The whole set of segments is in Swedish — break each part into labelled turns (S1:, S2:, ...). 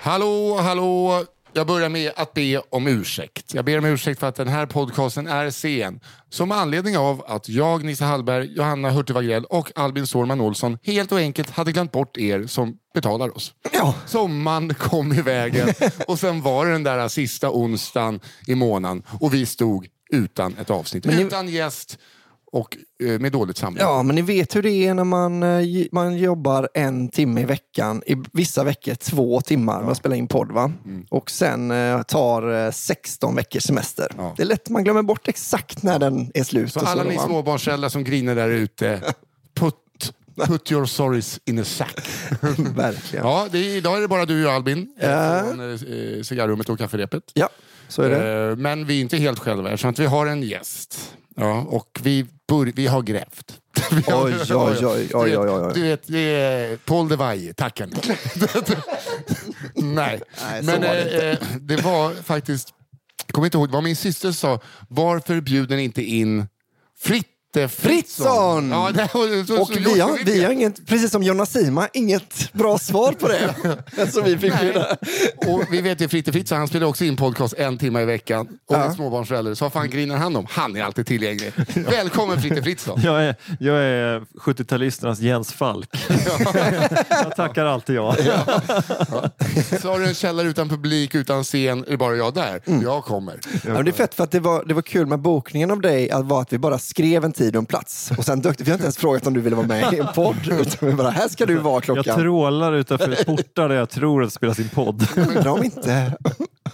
S1: Hallå, hallå. Jag börjar med att be om ursäkt. Jag ber om ursäkt för att den här podcasten är sen. Som anledning av att jag, Nisse Hallberg, Johanna Hurtig Wagrell och Albin Sårman Olsson helt och enkelt hade glömt bort er som betalar oss.
S2: Ja.
S1: Sommaren kom i vägen och sen var det den där sista onsdagen i månaden och vi stod utan ett avsnitt,
S2: ni-
S1: utan gäst och eh, med dåligt samvete.
S2: Ja, men ni vet hur det är när man, eh, j- man jobbar en timme i veckan. I vissa veckor två timmar med att spela in podd. Va?
S1: Mm.
S2: Och sen eh, tar eh, 16 veckors semester.
S1: Ja.
S2: Det är lätt, man glömmer bort exakt när den är slut.
S1: Så
S2: och
S1: alla
S2: då,
S1: ni
S2: va?
S1: småbarnsföräldrar som griner där ute, put, put your sorries in a sack.
S2: Verkligen. Ja.
S1: Ja, det är, idag är det bara du och Albin eh, från eh, cigarrummet och kafferepet.
S2: så är det.
S1: Eh, men vi är inte helt själva eftersom att vi har en gäst. Ja, och vi, bör, vi har grävt. Vi har-
S2: Oj, oj, oj, oj, oj, oj, oj.
S1: Du vet, det är Paul de Vaje, tack henne. Nej,
S2: Nej, så
S1: men
S2: var
S1: eh,
S2: det inte.
S1: eh, det var faktiskt, jag kommer inte ihåg, vad min syster sa, varför bjuder ni inte in Fritte Fritzson?
S2: Fritzson!
S1: Ja, det, så, så,
S2: Och vi har, vi har inget, precis som Jonasima, inget bra svar på det. så vi fick ju det.
S1: Och vi vet ju Fritte Fritzson, han spelar också in podcast en timme i veckan. Och
S2: Ja.
S1: är småbarnsförälder. Så vad fan griner han om? Han är alltid tillgänglig. Välkommen Fritte Fritzson.
S3: Jag är, jag är 70-talisternas Jens Falk. jag tackar alltid jag.
S1: Så har du en källare utan publik, utan scen, är det bara jag där?
S2: Mm.
S1: Jag kommer.
S2: Ja, men det är fett för att det var, det var kul med bokningen av dig att, var att vi bara skrev en tid och en plats. Och sen dök, vi har inte ens frågat om du ville vara med i en podd. Utan vi bara, här ska du vara klockan.
S3: Jag trålar utanför portar där jag tror att det spelas in podd.
S2: Undrar om inte,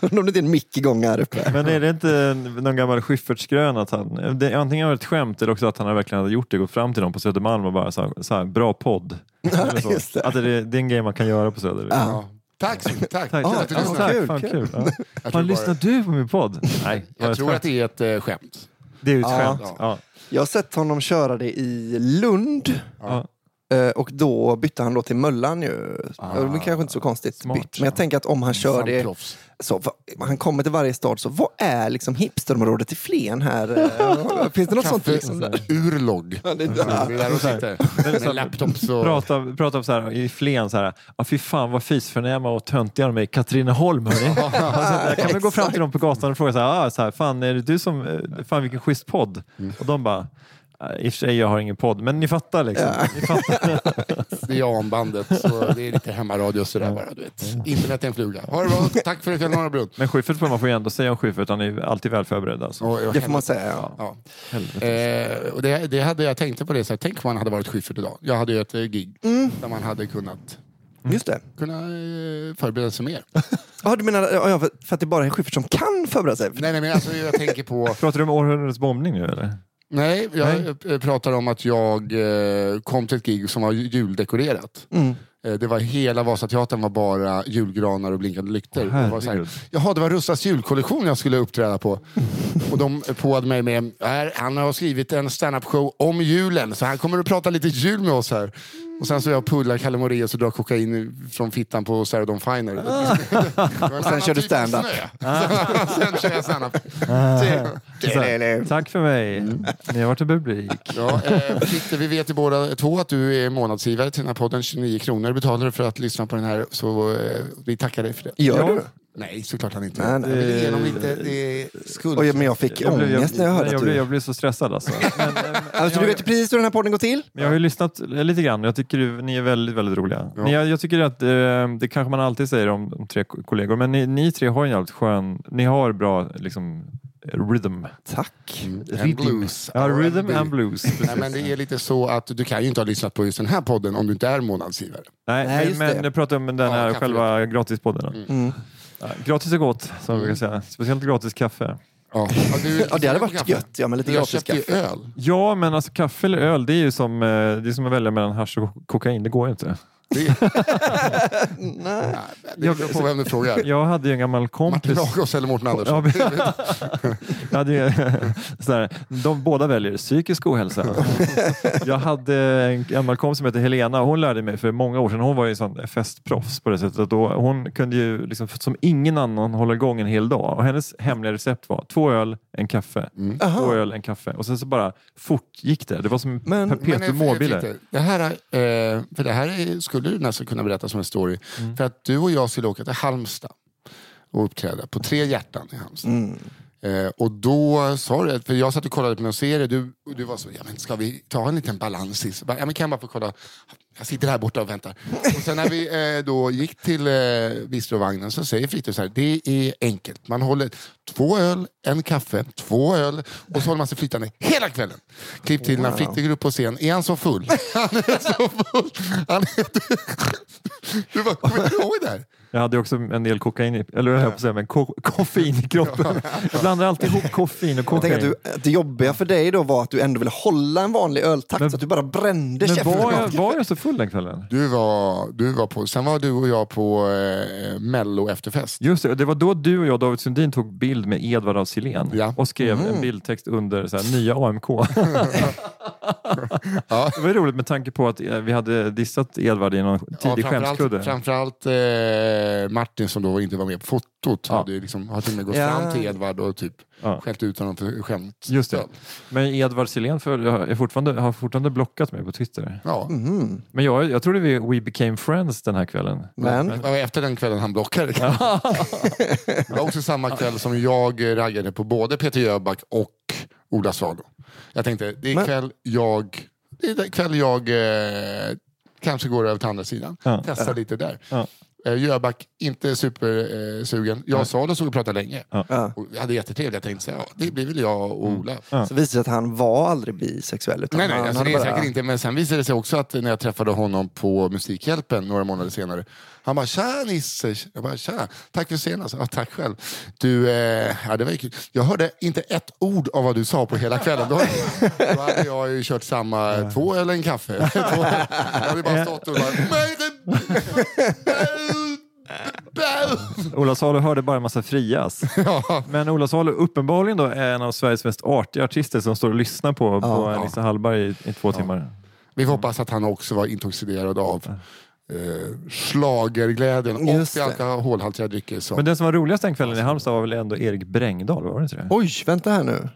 S2: undrar om det inte är en mick igång här uppe.
S3: Men är det inte en- någon gammal Schyffertsgrön att han... Det, antingen var det ett skämt eller också att han verkligen hade gjort det. Gått fram till dem på Södermalm och bara så här, så här bra podd. Eller så.
S2: just det.
S3: Att det, det är en grej man kan göra på Söder.
S1: Ja. Tack så mycket. Tack.
S3: Tack,
S1: Tack.
S3: tack,
S1: att du
S3: tack,
S1: lyssnar.
S2: kul,
S3: fan,
S2: kul.
S3: kul. Ja.
S1: tror bara-
S3: Fan, lyssnar du på min podd? Nej, var
S1: Jag
S3: ett
S1: tror
S3: skämt?
S1: att det är ett eh, skämt.
S3: det är ju ett
S2: Ja.
S3: skämt. Ja.
S2: Jag har sett honom köra det i Lund.
S3: Ja.
S2: Eh, Och då bytte han då till Möllan ju. Det var kanske inte så konstigt
S3: Smart.
S2: bytt. Men jag tänker att om han kör
S1: Fan,
S2: det
S1: proffs.
S2: så, va- han kommer till varje stad, så vad är liksom hipsterområdet i Flen här? Eh, Finns det något sånt liksom där?
S1: Urlogg.
S2: Ja, det-
S1: Det är där de sitter. Med laptops och...
S3: Prata, prata om så här, i Flen så här, ah, fy fan vad fisförnäma och töntiga de är i Katrineholm hörni. alltså, jag kan väl gå fram till dem på gatan och fråga så här, ah, så här fan är det du som, eh, fan vilken schysst podd.
S2: Mm.
S3: Och de bara, "Ah, i och för sig jag har ingen podd, men ni fattar liksom. Ni fattar.
S1: Det är anbandet. Så det är lite hemmaradio och sådär bara. Du vet. Internet är en fluga. Ha det bra. Tack för ikväll Norra Brunn.
S3: Men Schyffert får man får ju ändå säga om Schyffert, han är ju alltid väl förberedd. Alltså.
S1: Och- och-
S2: Det får man säga, ja.
S1: Ja. Eh, och det, det hade jag tänkt på det, så här, tänk om man hade varit Schyffert idag. Jag hade ju ett eh, gig där man hade kunnat
S2: Just det.
S1: kunna eh, förbereda sig mer.
S2: Ja, du menar ja, ja, för för att det bara är Schyffert som kan förbereda sig?
S1: nej, nej, men alltså jag tänker på...
S3: Pratar du om århundradets bombning nu eller?
S1: Nej, jag eh, pratar om att jag eh, kom till ett gig som var juldekorerat.
S3: Mm.
S1: Eh, Det var hela Vasateatern var bara julgranar och blinkande lyktor.
S3: Åh,
S1: Det var så här,
S3: herregud.
S1: Jaha, det var Russas julkollektion jag skulle uppträda på. Och de påade mig med, här, han har skrivit en standup-show om julen, så han kommer att prata lite jul med oss här. Och sen så jag pullar Kalle Moraeus och drar kokain från fittan på Sarah Dawn Finer. och
S2: sen kör du stand-up.
S1: typ sen kör jag standup.
S3: Ah. Så här, Tack för mig,
S2: Mm.
S3: ni har varit en publik.
S1: Ja, eh, Fritte, vi vet ju båda två att du är månadsgivare till den här podden. 29 kronor betalar du för att lyssna på den här. Så eh, vi tackar dig för det.
S2: Gör
S3: Ja.
S2: du?
S1: Nej, såklart han inte.
S2: Nej, nej.
S1: Jag vill ge honom lite eh, skuld.
S2: Oj, men jag fick ångest när jag hörde
S3: jag,
S2: att
S3: blev,
S2: du...
S3: jag blev så stressad alltså. Men, eh,
S2: Alltså, du vet precis hur den här podden går till?
S3: Men jag har ju lyssnat lite grann och jag tycker du- ni är väldigt, väldigt roliga. Ni, jag, jag tycker att, eh, det kanske man alltid säger om, om tre ko- kollegor, men ni, ni tre har ju en jävligt skön, ni har bra liksom, rhythm.
S2: Tack.
S1: And blues.
S3: Ja, rhythm
S1: R&B.
S3: and blues. precis.
S1: Nej, men det är lite så att du kan ju inte ha lyssnat på just den här podden om du inte är månadsgivare.
S3: Nej,
S2: Nej, just
S3: men, men
S2: det.
S3: jag pratar om den här
S1: kaffe.
S3: själva gratispodden.
S2: Mm.
S3: då.
S1: Mm.
S3: Ja, gratis är gott, som vi brukar säga. Speciellt gratis kaffe.
S1: Ja, ja, du,
S2: Ja, det hade
S1: kaffe.
S2: varit gött. Ja, men lite
S1: Jag
S2: gratis
S1: köpte ju
S2: kaffe.
S1: öl.
S3: Ja, men alltså kaffe eller öl, det är ju som, eh, det är som att välja mellan hasch och ko- kokain. Det går ju inte.
S1: Det, Nej, det beror på vem du frågar.
S3: Jag hade ju en gammal
S1: Martin
S3: kompis.
S1: Lagos eller Mårten Andersson.
S3: Ja, men- jag hade ju, så här, de båda väljer psykisk ohälsa. Jag hade en gammal kompis som hette Helena och hon lärde mig för många år sedan. Hon var ju en sån festproffs på det sättet. Att då, hon kunde ju liksom, som ingen annan hålla igång en hel dag. Och hennes hemliga recept var två öl, en kaffe. Två öl, en kaffe. Och sen så bara fortgick det. Det var som
S2: Men-
S3: perpetuum
S1: Men, eh,
S3: mobile.
S1: Fritte, Det här, är, eh, för det här är skuld skulle du nästan kunna berätta som en story. För att du och jag skulle åka till Halmstad och uppträda på Tre hjärtan i Halmstad.
S2: Mm.
S1: Eh, och då sa du, för jag satt och kollade på någon serie, du, och du var så, ja men ska vi ta en liten balans? i-" Så bara, Ja men kan jag bara få kolla? Jag sitter här borta och väntar. Och sen när vi eh, då gick till eh, bistrovagnen så säger Fritiof så här, det är enkelt. Man håller två öl, en kaffe, två öl och så håller man sig flytande hela kvällen. Klipp till när
S2: Wow.
S1: Fritte går upp på scen, är han så full? Han är så full! Han är... Du bara, kommer du ihåg det här?
S3: Jag hade ju också en del kokain, i- eller jag höll på att säga, men ko- koffein i kroppen. Jag blandar alltid ihop koffein och
S2: Jag tänker
S3: kokain.
S2: att, du, att det jobbiga för dig då var att du ändå ville hålla en vanlig öltakt
S3: Men-
S2: så att du bara brände
S3: men
S2: käften.
S3: var jag, var jag så full den kvällen?
S1: Du var, du var på, sen var du och jag på eh, mello efterfest.
S3: Just det, och det var då du och jag, David Sundin, tog bild med Edvard af Sillén
S1: Ja. Mm.
S3: och skrev en bildtext under så här, nya AMK. Det var ju roligt med tanke på att eh, vi hade dissat Edvard i någon tidig skämskudde.
S1: framförallt framförallt eh, Martin som då inte var med på fotot
S3: Ja.
S1: hade ju liksom, har till och med gått
S2: Ja.
S1: fram till Edvard och typ
S3: Ja.
S1: skällt ut honom för skämt.
S3: Just det. Men Edvard Sillén följer- har fortfarande, har fortfarande blockat mig på Twitter.
S1: Ja.
S2: Mhm.
S3: Men jag, jag trodde vi we became friends den här kvällen.
S2: Men
S1: Det var Efter den kvällen han blockade. det var också samma kväll som jag raggade på både Peter Jöback och Ola Svalo. Jag tänkte, det är
S2: Men-
S1: kväll jag, det är den kväll jag eh, kanske går över till andra sidan.
S3: Ja.
S1: Testa lite där.
S3: Ja.
S1: Eh, Jöback, inte supersugen. Eh, sugen. jag och Svalo såg och pratade länge.
S2: Ja.
S1: Och vi hade jättetrevligt. Jag tänkte, så här, ja, det blir väl jag och
S3: Mm.
S1: Ola.
S2: så visade det sig att han var aldrig bisexuell. Utan
S1: Nej, nej,
S2: han
S1: alltså
S2: hade
S1: det är
S2: bara-
S1: säkert inte. Men sen visade det sig också att när jag träffade honom på Musikhjälpen några månader senare. Han bara, tja Nisse. Jag bara, tja. Tack för senast. Ja, tack själv. Du, eh, ja, det var ju kul. Jag hörde inte ett ord av vad du sa på hela kvällen. Då, då hade jag ju kört samma två eller en kaffe. Två- jag hade bara stått och bara, "Nej, det-
S3: Ola Salo hörde bara en massa frias. Men Ola Salo uppenbarligen då är en av Sveriges mest artiga artister som står och lyssnar på, på
S2: ja.
S3: Nisse Hallberg i, i två timmar.
S1: Vi får hoppas att han också var intoxikerad av eh, schlagerglädjen och
S2: Just
S1: det
S2: det.
S1: alkoholhaltiga drycker. Som...
S3: Men den som var roligast den kvällen i Halmstad var väl ändå Erik Brängdal? Var det inte det?
S2: Oj, vänta här nu.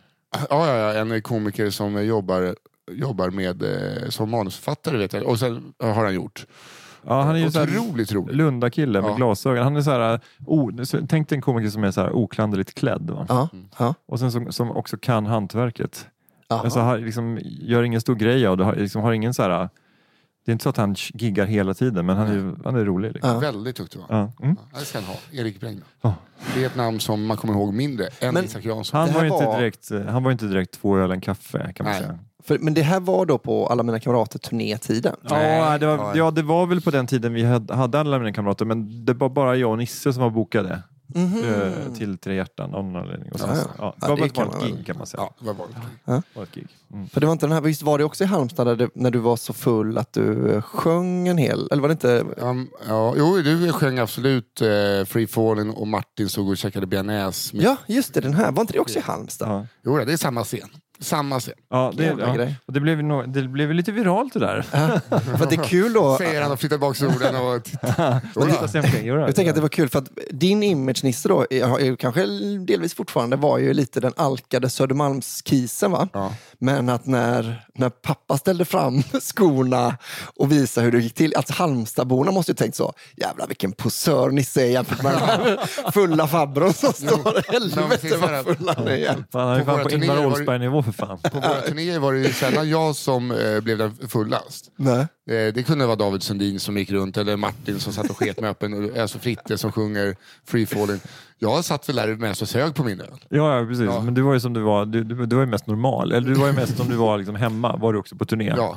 S1: Ja, ja, ja, en komiker som jobbar, jobbar med eh, som manusförfattare vet jag. Och sen har han gjort.
S3: Ja, han är ju så här
S1: Otroligt rolig.
S3: Lundakille med
S1: Ja.
S3: glasögon. Han är så här, o, så- tänk dig en komiker som är så här oklanderligt klädd. Va?
S2: Ja,
S1: Mm.
S2: ja.
S3: Och sen som, som också kan hantverket.
S2: Jaha.
S3: Alltså, har, liksom, gör ingen stor grej av det. Har, liksom, har ingen så här, det är inte så att han giggar hela tiden, men han är, ju- han är rolig. Liksom.
S2: Ja.
S1: Väldigt duktig var han.
S3: Ja. Mm.
S1: Ja, Det ska han ha. Erik Brängman.
S3: Ja.
S1: Det är ett namn som man kommer ihåg mindre än
S2: Men-
S1: Isak Jansson.
S3: Han,
S2: Det
S3: var
S2: här
S3: ju inte
S2: var-
S3: direkt, eh, han var ju inte direkt två öl en kaffe kan man
S1: Nej.
S3: säga.
S2: För, men det här var då på Alla mina kamrater-turnétiden.
S3: Ja det, var,
S1: nej.
S3: ja, det var väl på den tiden vi hade, hade alla mina kamrater, men det var bara jag och Nisse som var bokade eh, till Tre hjärtan av någon anledning. Och sen,
S2: Mhm. Ja, ja.
S3: ja, det
S2: Ja,
S3: var
S2: det
S3: bara ett
S2: kan
S3: vanligt
S2: man väl-
S3: gig kan man säga.
S1: Ja, det var vanligt.
S3: Bara ett gig. Mm.
S2: För det var inte den här, visst var det också i Halmstad där du, när du var så full att du eh, sjöng en hel... Eller var det inte...
S1: Um, ja, jo, du sjöng absolut eh, Free Falling och Martin såg och käkade bearnaise. med-
S2: Ja, just det, den här. Var inte det också i Halmstad?
S3: Ja.
S1: Jo, det är samma scen. Samma scen.
S3: Ja, det,
S2: Jävla
S3: ja.
S2: grej.
S3: Och det, blev, ju nå- det blev ju lite viralt det där.
S2: För att det är kul då...
S1: Säger han och flyttar bak solen. Och
S3: Titta sig omkring, gjorde det?
S2: Jag tänker att det var kul för att din image Nisse då, är- är kanske delvis fortfarande, var ju lite den alkade Södermalmskisen va?
S1: Ja.
S2: Men att när, när pappa ställde fram skorna och visade hur det gick till, alltså Halmstadborna måste ju tänkt så, jävlar vilken posör Nisse är jämfört med den här fulla farbrorn som står,
S1: men precis
S2: helvete
S1: Mm. så här.
S2: vad full han är. igen.
S3: Fan, han är
S1: På
S3: ju fan
S1: våra turnéer
S3: på Ingvar
S1: var det-
S3: Oldsberg-nivå för fan.
S1: på våra turnéer var det ju sällan jag som eh, blev den fullast.
S2: Nej.
S1: Eh, Det kunde vara David Sundin som gick runt eller Martin som satt och sket med öppen, alltså Fritte som sjunger Free Falling. Jag satt väl där med så sög på min öl.
S3: Ja, ja precis. Men du var ju som du var. Du, du, du var ju mest normal. Eller du var ju mest som du var liksom hemma. Var du också på turné.
S1: Ja.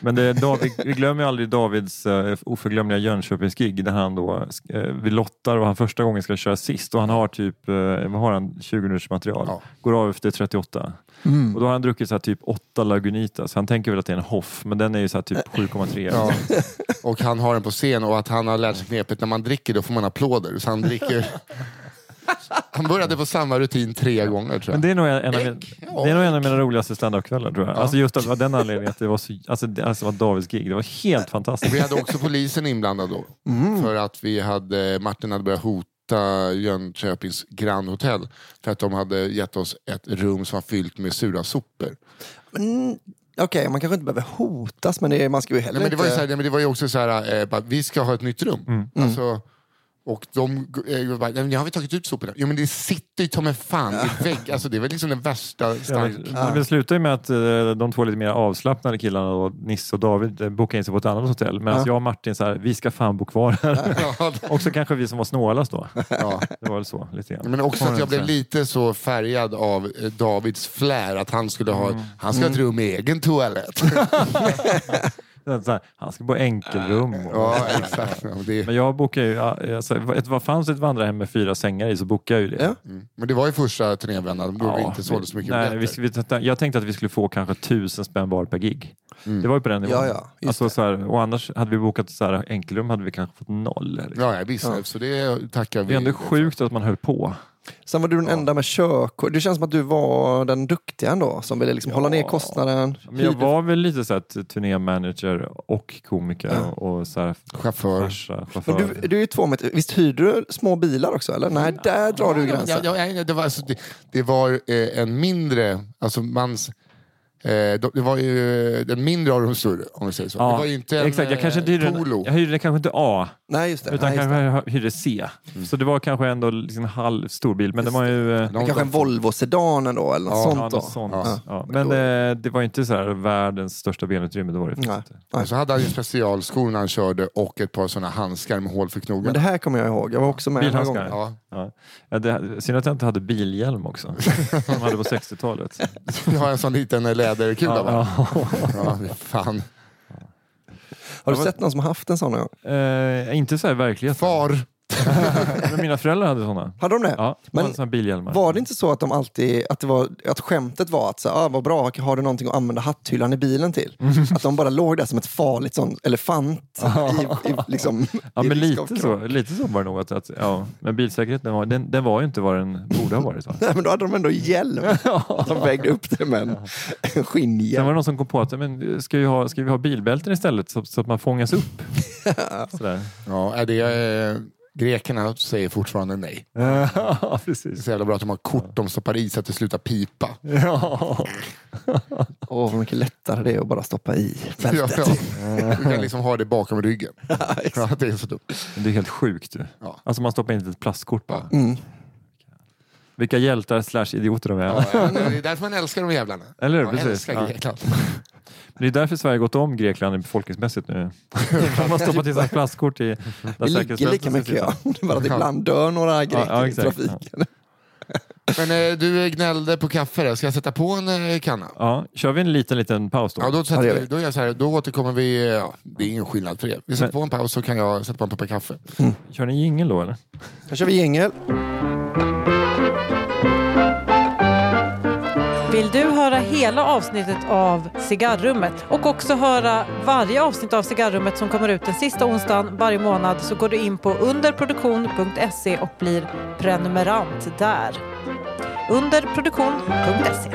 S3: Men det, är David, vi glömmer ju aldrig Davids uh, oförglömliga Jönköpingsgig där han då, eh, vi lottar och han första gången ska köra sist och han har typ eh, vad har han, 20 minuters material.
S1: Ja. Mm.
S3: Går av efter 38. Och då har han druckit så här typ 8 Lagunitas. Han tänker väl att det är en Hoff, men den är ju så här typ 7,3.
S1: Eh, Ja. Och han har den på scen och att han har lärt sig knepet när man dricker då får man applåder. Så han dricker... Han började på samma rutin tre gånger tror
S3: Men
S1: jag.
S3: det är nog en, en, av, min,
S1: Äck, ja.
S3: det är nog en av mina roligaste standup-kvällar tror jag. Alltså just att, av den anledningen att det var, så, alltså, det, alltså var Davids gig. Det var
S1: Eh,
S3: helt fantastiskt.
S1: Vi hade också polisen inblandad då. För att vi hade, Martin hade börjat hota Jönköpings grannhotell för att de hade gett oss ett rum som var fyllt med sura sopor.
S2: Men mm, Okej, man kanske inte behöver hotas, men det, är- man ska ju heller
S1: Nej, men det, var ju
S2: inte...
S1: så här, nej, men det var ju också så här, eh, bara, vi ska ha ett nytt rum.
S3: Mm.
S1: Alltså, och de eh, bara, nej, men har vi tagit ut soporna? Jo men det sitter ju ta mig fan i vägg. Alltså, det är väl liksom den värsta stanken.
S3: Ja. Det slutar ju med att eh, de två lite mer avslappnade killarna, då, Nisse och David, eh, bokar in sig på ett annat hotell. Medan jag och Martin, så här, vi ska fan bo kvar här.
S1: Ja, det-
S3: Också kanske vi som var snålast då.
S1: ja.
S3: Det var väl så lite grann.
S1: Men också att jag blev
S3: 100%.
S1: lite så färgad av eh, Davids flär, att han skulle
S3: Mm.
S1: ha, han ska ha ett rum med egen toalett.
S3: Så här, han ska bo i enkelrum. Och...
S1: ja, exakt. Ja, men det,
S3: Men jag bokar ju, ja, alltså, ett, vad fanns ett vandrarhem med fyra sängar i så bokar jag ju det.
S2: Ja.
S1: mm. men det var ju första turnévändan, då vi inte sålde så mycket
S3: nej, vi,
S1: biljetter.
S3: vi, Jag tänkte att vi skulle få kanske tusen spänn var per gig.
S1: Mm.
S3: Det var ju på den nivån.
S2: Ja, ja, just
S3: alltså, så här, och annars hade vi bokat så här, enkelrum hade vi kanske fått noll. Liksom.
S1: Ja, ja, visst. Så det tackar vi.
S3: Det är ändå sjukt att man höll på.
S2: Sen var du den enda med körkort. Det känns som att du var den duktiga ändå, som ville liksom hålla ner kostnaden.
S3: Men jag var väl lite så här, t- turnémanager och komiker och, och så här,
S1: Chaufför.
S3: farsa, chaufför.
S2: Men du, du är ju två meter. Visst hyrde du små bilar också? Eller? Nej, där drar du gränsen.
S1: Ja, ja, ja, det var, alltså, det, det var eh, en mindre, alltså mans... Eh, de- det var ju eh, den mindre av de större, om vi säger så.
S3: Ja,
S1: det var ju inte en
S3: exakt, jag
S1: eh,
S3: kanske inte hyrde,
S1: polo.
S3: jag hyrde kanske inte A,
S2: Nej, just det.
S3: utan
S2: Nej, just det.
S3: kanske jag hyrde C.
S1: Mm.
S3: Så det var kanske ändå liksom en halv storbil, men det var ju... eh,
S1: De-
S2: Kanske en Volvo Sedan ändå, eller något
S3: Ja,
S2: sånt. Då.
S3: något sånt.
S1: Ja.
S3: Ja. Men eh, det var ju inte så här världens största benutrymme. Det var det
S2: Nej.
S3: faktiskt inte.
S1: Och Så hade han ju specialskor när han körde och ett par sådana handskar med hål för knogarna.
S2: Men det här kommer jag ihåg. Jag var också med den här
S3: Bilhandskar.
S2: gången.
S1: Ja.
S3: Ja. Ja, det, synd att jag inte hade bilhjälm också. som de hade på 60-talet.
S1: Vi har en sån liten eh, läderkula
S3: Ja,
S1: va?
S3: ja.
S1: Ja, fan.
S2: Har du sett någon som har haft en sån? någon gång?
S3: Eh, inte så här i verkligheten.
S1: Far.
S3: Men mina föräldrar hade sådana.
S2: Hade de det?
S3: Ja, de
S2: Men-
S3: hade såna bilhjälmar.
S2: Var det inte så att de alltid, att, det var, att skämtet var att så, här, ah, vad bra, har du någonting att använda hatthyllan i bilen till?
S3: Mm.
S2: Att de bara låg där som ett farligt sån elefant. i, i, liksom,
S3: Ja,
S2: i
S3: men
S2: risk av
S3: lite
S2: krock.
S3: så, lite så var det nog. Att, att, ja. Men bilsäkerheten var, den, den var ju inte vad den borde ha varit. Va?
S2: Nej, men då hade de ändå hjälm. De vägde upp det med en, en
S3: Sen
S2: skinnhjälm.
S3: var det någon som kom på att men, ska, vi ha, ska vi ha bilbälten istället så, så att man fångas upp? Sådär.
S1: Ja, är det, eh, grekerna säger fortfarande nej.
S3: Ja,
S1: Det är
S3: precis.
S1: så jävla bra att de har kort de stoppar i så att det slutar pipa.
S3: Ja.
S2: Åh, vad mycket lättare det är att bara stoppa i
S1: Ja,
S2: bältet.
S1: ja. Du kan liksom ha det bakom ryggen. Ja, det är så dumt.
S3: Men Det är helt sjukt. du.
S1: Ja.
S3: Alltså man stoppar in ett plastkort bara. Vilka hjältar slash idioter de är.
S1: Ja, ja, det är därför man älskar de jävlarna.
S3: Eller hur?
S1: Man
S3: Precis.
S1: älskar
S3: Ja.
S1: Grekland.
S3: Det är därför Sverige gått om Grekland befolkningsmässigt nu. man har stoppat in sådana plastkort i... där
S2: Det ligger
S3: säkerhetsbältet
S2: lika
S3: ska
S2: mycket
S3: sitta.
S2: ja. Det är bara att ibland dör några greker
S3: ja,
S2: i
S3: exakt,
S2: trafiken.
S1: Men eh, du gnällde på kaffe där. Ska jag sätta på en eh, kanna?
S3: Ja, kör vi en liten, liten paus då?
S1: Ja, då,
S2: Ja, det
S1: sätter
S2: gör
S1: vi,
S2: vi.
S1: då, gör jag så här, då återkommer vi. eh, Ja, det är ingen skillnad för er. Vi sätter på en paus så kan jag sätta på en kopp kaffe.
S3: Kör ni jingel då eller?
S2: Här kör vi jingel.
S4: Vill du höra hela avsnittet av Cigarrummet och också höra varje avsnitt av Cigarrummet som kommer ut den sista onsdagen varje månad så går du in på underproduktion.se och blir prenumerant där. Underproduktion.se